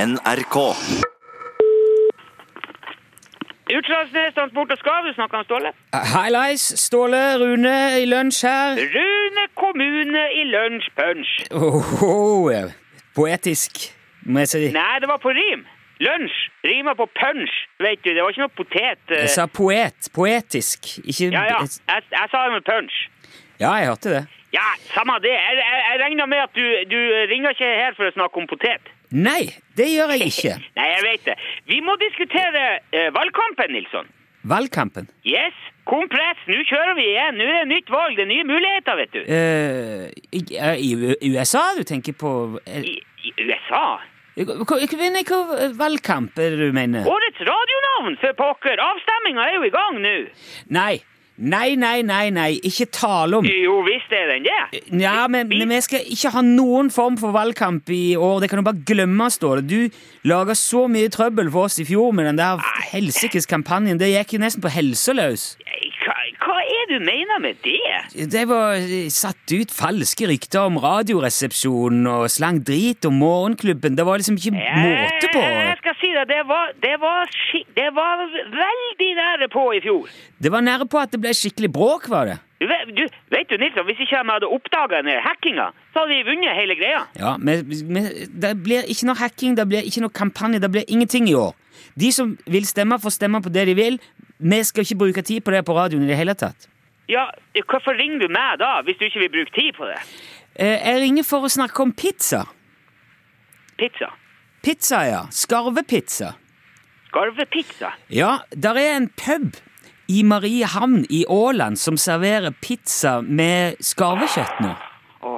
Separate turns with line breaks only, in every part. NRK.
Utslagsnes Transport og Skarv, du snakker om Ståle.
Hei, Leis. Ståle, Rune i lunsj her.
Rune kommune i lunsj punch.
Oho, poetisk, må jeg si.
Nei, det var på rim. Lunsj rimer på punch, vet du. Det var ikke noe potet. eh.
Jeg sa poet. Poetisk. Ikke
Ja, ja. Jeg, jeg sa det med punch.
Ja, jeg hørte det.
Ja, samme det. Jeg, jeg, jeg regner med at du, du ringer ikke her for å snakke om potet.
Nei, det gjør jeg ikke.
Nei, jeg vet det. Vi må diskutere eh, valgkampen, Nilsson.
Valgkampen.
Yes, kom press, nå kjører vi igjen. Nå er det nytt valg, det er nye muligheter, vet du.
Eh, i, eh, I U- USA du tenker på eh,
I, i USA.
hva- hva- men Hva valgkamp er det du mener?
Årets radionavn, for pokker. Avstemminga er jo i gang nå.
Nei. Nei, nei, nei, nei. Ikke tale om.
Jo visst er den det.
Ja, men, men vi skal ikke ha noen form for valgkamp i år. Det kan du bare glemme, Ståle. Du laga så mye trøbbel for oss i fjor med den der helsikes kampanjen. Det gikk jo nesten på helsa løs.
Hva, hva er du mener med det?
Det var eh, satt ut falske rykter om Radioresepsjonen og slang drit om Morgenklubben. Det var liksom ikke måte på.
Jeg, jeg skal si deg, det var, det var, skik- det var veldig nære på i fjor.
Det var nære på at det ble skikkelig bråk, var det.
Du, ve- du, vet du, Nilsson, hvis ikke jeg hadde oppdaga denne hackinga, så hadde vi vunnet hele greia.
Ja, men, men det blir ikke noe hacking, det blir ikke noe kampanje, det blir ingenting i år. De som vil stemme, får stemme på det de vil. Vi skal ikke bruke tid på det på radioen i det hele tatt.
Ja, hvorfor ringer du meg da, hvis du ikke vil bruke tid på det?
Eh, Jeg ringer for å snakke om pizza.
Pizza.
Pizza, ja. Skarvepizza.
Skarvepizza.
Ja, der er en pub i Mariehamn i Åland som serverer pizza med skarvekjøtt nå.
Å,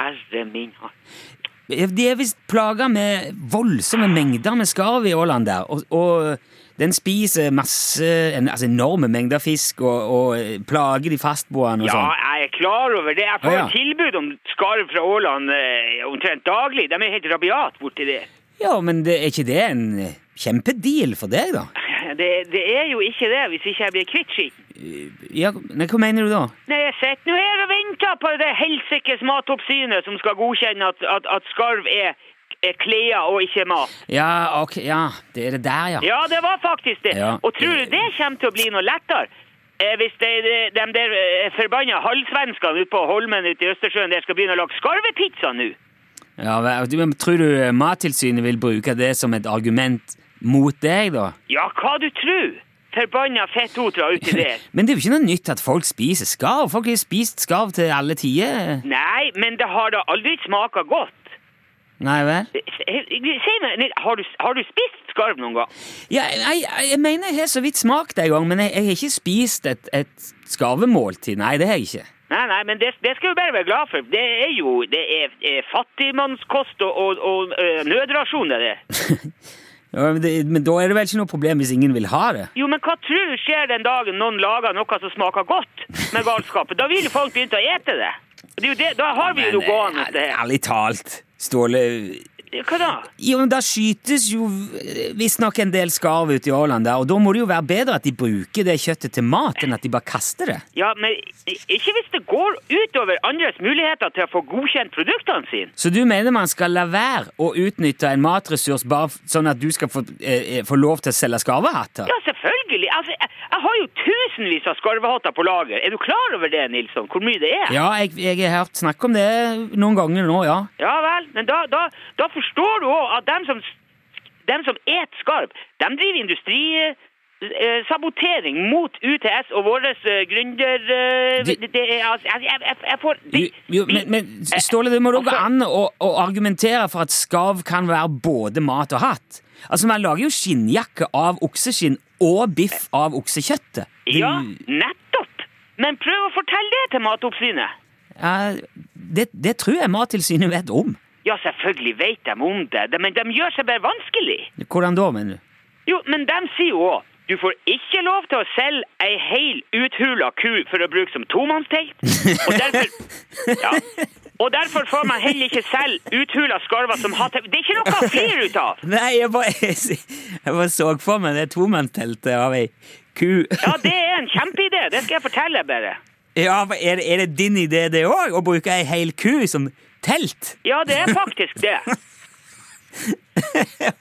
herre min hatt.
De er visst plaga med voldsomme mengder med skarv i Åland der. Og, og den spiser masse en, Altså enorme mengder fisk og, og plager de fastboende og
Ja,
sånn.
jeg er klar over det. Jeg får
Å, ja.
tilbud om skarv fra Åland eh, omtrent daglig. De er helt rabiat borti det.
Ja, men det, er ikke det en kjempedeal for deg, da?
det. Det er jo ikke det, hvis ikke jeg blir kvitt skitten.
Ja, nei, hva mener du da?
Nei, jeg sitter nå her og venter på det helsikes matoppsynet som skal godkjenne at, at, at skarv er, er klær og ikke mat.
Ja, ok, ja, det er det der, ja.
Ja, det var faktisk det.
Ja.
Og tror du det kommer til å bli noe lettere? Eh, hvis de, de, de der eh, forbanna halvsvenskene ute på Holmen ute i Østersjøen der skal begynne å lage skarvepizza nå?
Ja, hva- du- men Tror du Mattilsynet vil bruke det som et argument mot deg, da?
Ja, hva du tror? Forbanna fettotra uti der.
Men det er jo ikke noe nytt at folk spiser skarv. Folk har jo spist skarv til alle tider.
Nei, men det har da aldri smaka godt.
Nei vel?
Eh, eh, Si meg, Nils, har du, har du spist skarv noen gang?
Ja, jeg, jeg, jeg mener jeg har så vidt smakt det en gang, men jeg, jeg har ikke spist et, et skarvemåltid. Nei, det har jeg ikke.
Nei, nei, men det, det skal vi bare være glad for. Det er jo det er, er fattigmannskost og, og, og eh, nødrasjon, det er det.
Ja, men, det, men da er det vel ikke noe problem hvis ingen vil ha det?
Jo, men hva tror du skjer den dagen noen lager noe som smaker godt med galskapet? Da vil jo folk begynne å ete det. det, er jo det da har vi jo noe gående
Men,
det
eh,
her.
Ærlig talt, Ståle
Hva da?
Jo, men Da skytes jo visstnok en del skarv ute i Åland, der, og da må det jo være bedre at de bruker det kjøttet til mat, enn at de bare kaster det.
Ja, men i- ikke hvis det går utover andres muligheter til å få godkjent produktene sine.
Så du mener man skal la være å utnytte en matressurs bare f- sånn at du skal få, eh, eh, få lov til å selge skarvehatter?
Ja, selvfølgelig. Altså, jeg, jeg har jo tusenvis av skarvehatter på lager. Er du klar over det, Nilsson? Hvor mye det er?
Ja, jeg, jeg har hørt snakk om det noen ganger nå, ja.
Ja vel, men da, da, da forstår du òg at dem som, dem som et skarv, dem driver industrisabotering mot UTS og vår gründer... eh,
Du-
Det, er altså, jeg, jeg, jeg- jeg får...
Jo,
de-
jo,
de-
men, men Ståle, det må da gå
Altså-
an å, å argumentere for at skarv kan være både mat og hatt. Altså, Man lager jo skinnjakke av okseskinn og biff av oksekjøttet. Det-
Ja, nettopp! Men prøv å fortelle det til Matoppsynet.
ja, det, det tror jeg Mattilsynet vet om.
Ja, selvfølgelig vet de om det, de- men de gjør seg bare vanskelig.
Hvordan da, mener du?
Jo, men de sier jo òg du får ikke lov til å selge ei heil uthula ku for å bruke som tomannstelt. Og derfor, ja. og derfor får man heller ikke selge uthula skarver som har til... Det er ikke noe å flire ut av!
Nei, jeg bare, jeg bare så for meg det tomannsteltet av ei ku.
Ja, det er en kjempeidé, det skal jeg fortelle bare.
Ja, men er, det- er det din idé det òg? Å bruke ei hel ku som telt?
Ja, det er faktisk det.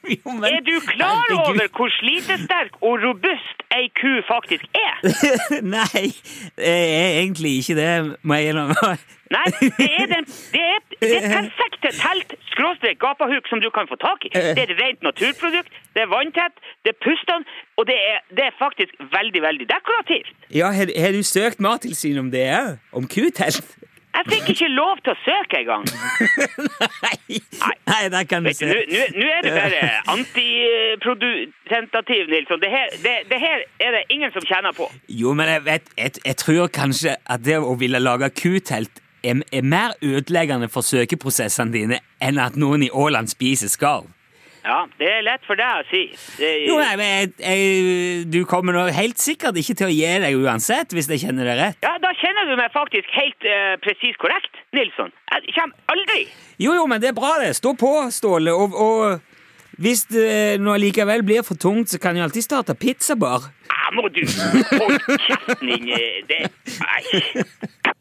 Jo, men-
Er du klar
Herregud.
over hvor slitesterk og robust ei ku faktisk er?
Nei, jeg er egentlig ikke det, må jeg innrømme.
Nei, det er den det er det perfekte telt, skråstrek, gapahuk som du kan få tak i. Det er et rent naturprodukt, det er vanntett, det er pustende, og det er, det er faktisk veldig, veldig dekorativt.
Ja, har, har du søkt Mattilsynet om det òg? Om kutelt?
Jeg fikk ikke lov til å søke engang.
Nei. Nei, der kan du
Vet du, Nå
se.
nå- nå er det bare antiproduktativ, Nilsson. Det her, det, det her er det ingen som tjener på.
Jo, men jeg, vet, jeg, jeg tror kanskje at det å ville lage kutelt er, er mer ødeleggende for søkeprosessene dine enn at noen i Åland spiser skarv.
Ja, Det er lett for deg å si. Det-
Jo, nei, men jeg, jeg, du kommer nå helt sikkert ikke til å gi deg uansett, hvis jeg kjenner det rett.
Ja, Da kjenner du meg faktisk helt eh, presis korrekt, Nilsson. Jeg kommer aldri.
Jo, jo, men det er bra det. Stå på, Ståle. Og, og hvis det nå likevel blir for tungt, så kan du alltid starte pizzabar.
Ja, må du holde kjeften din eh, det. Nei.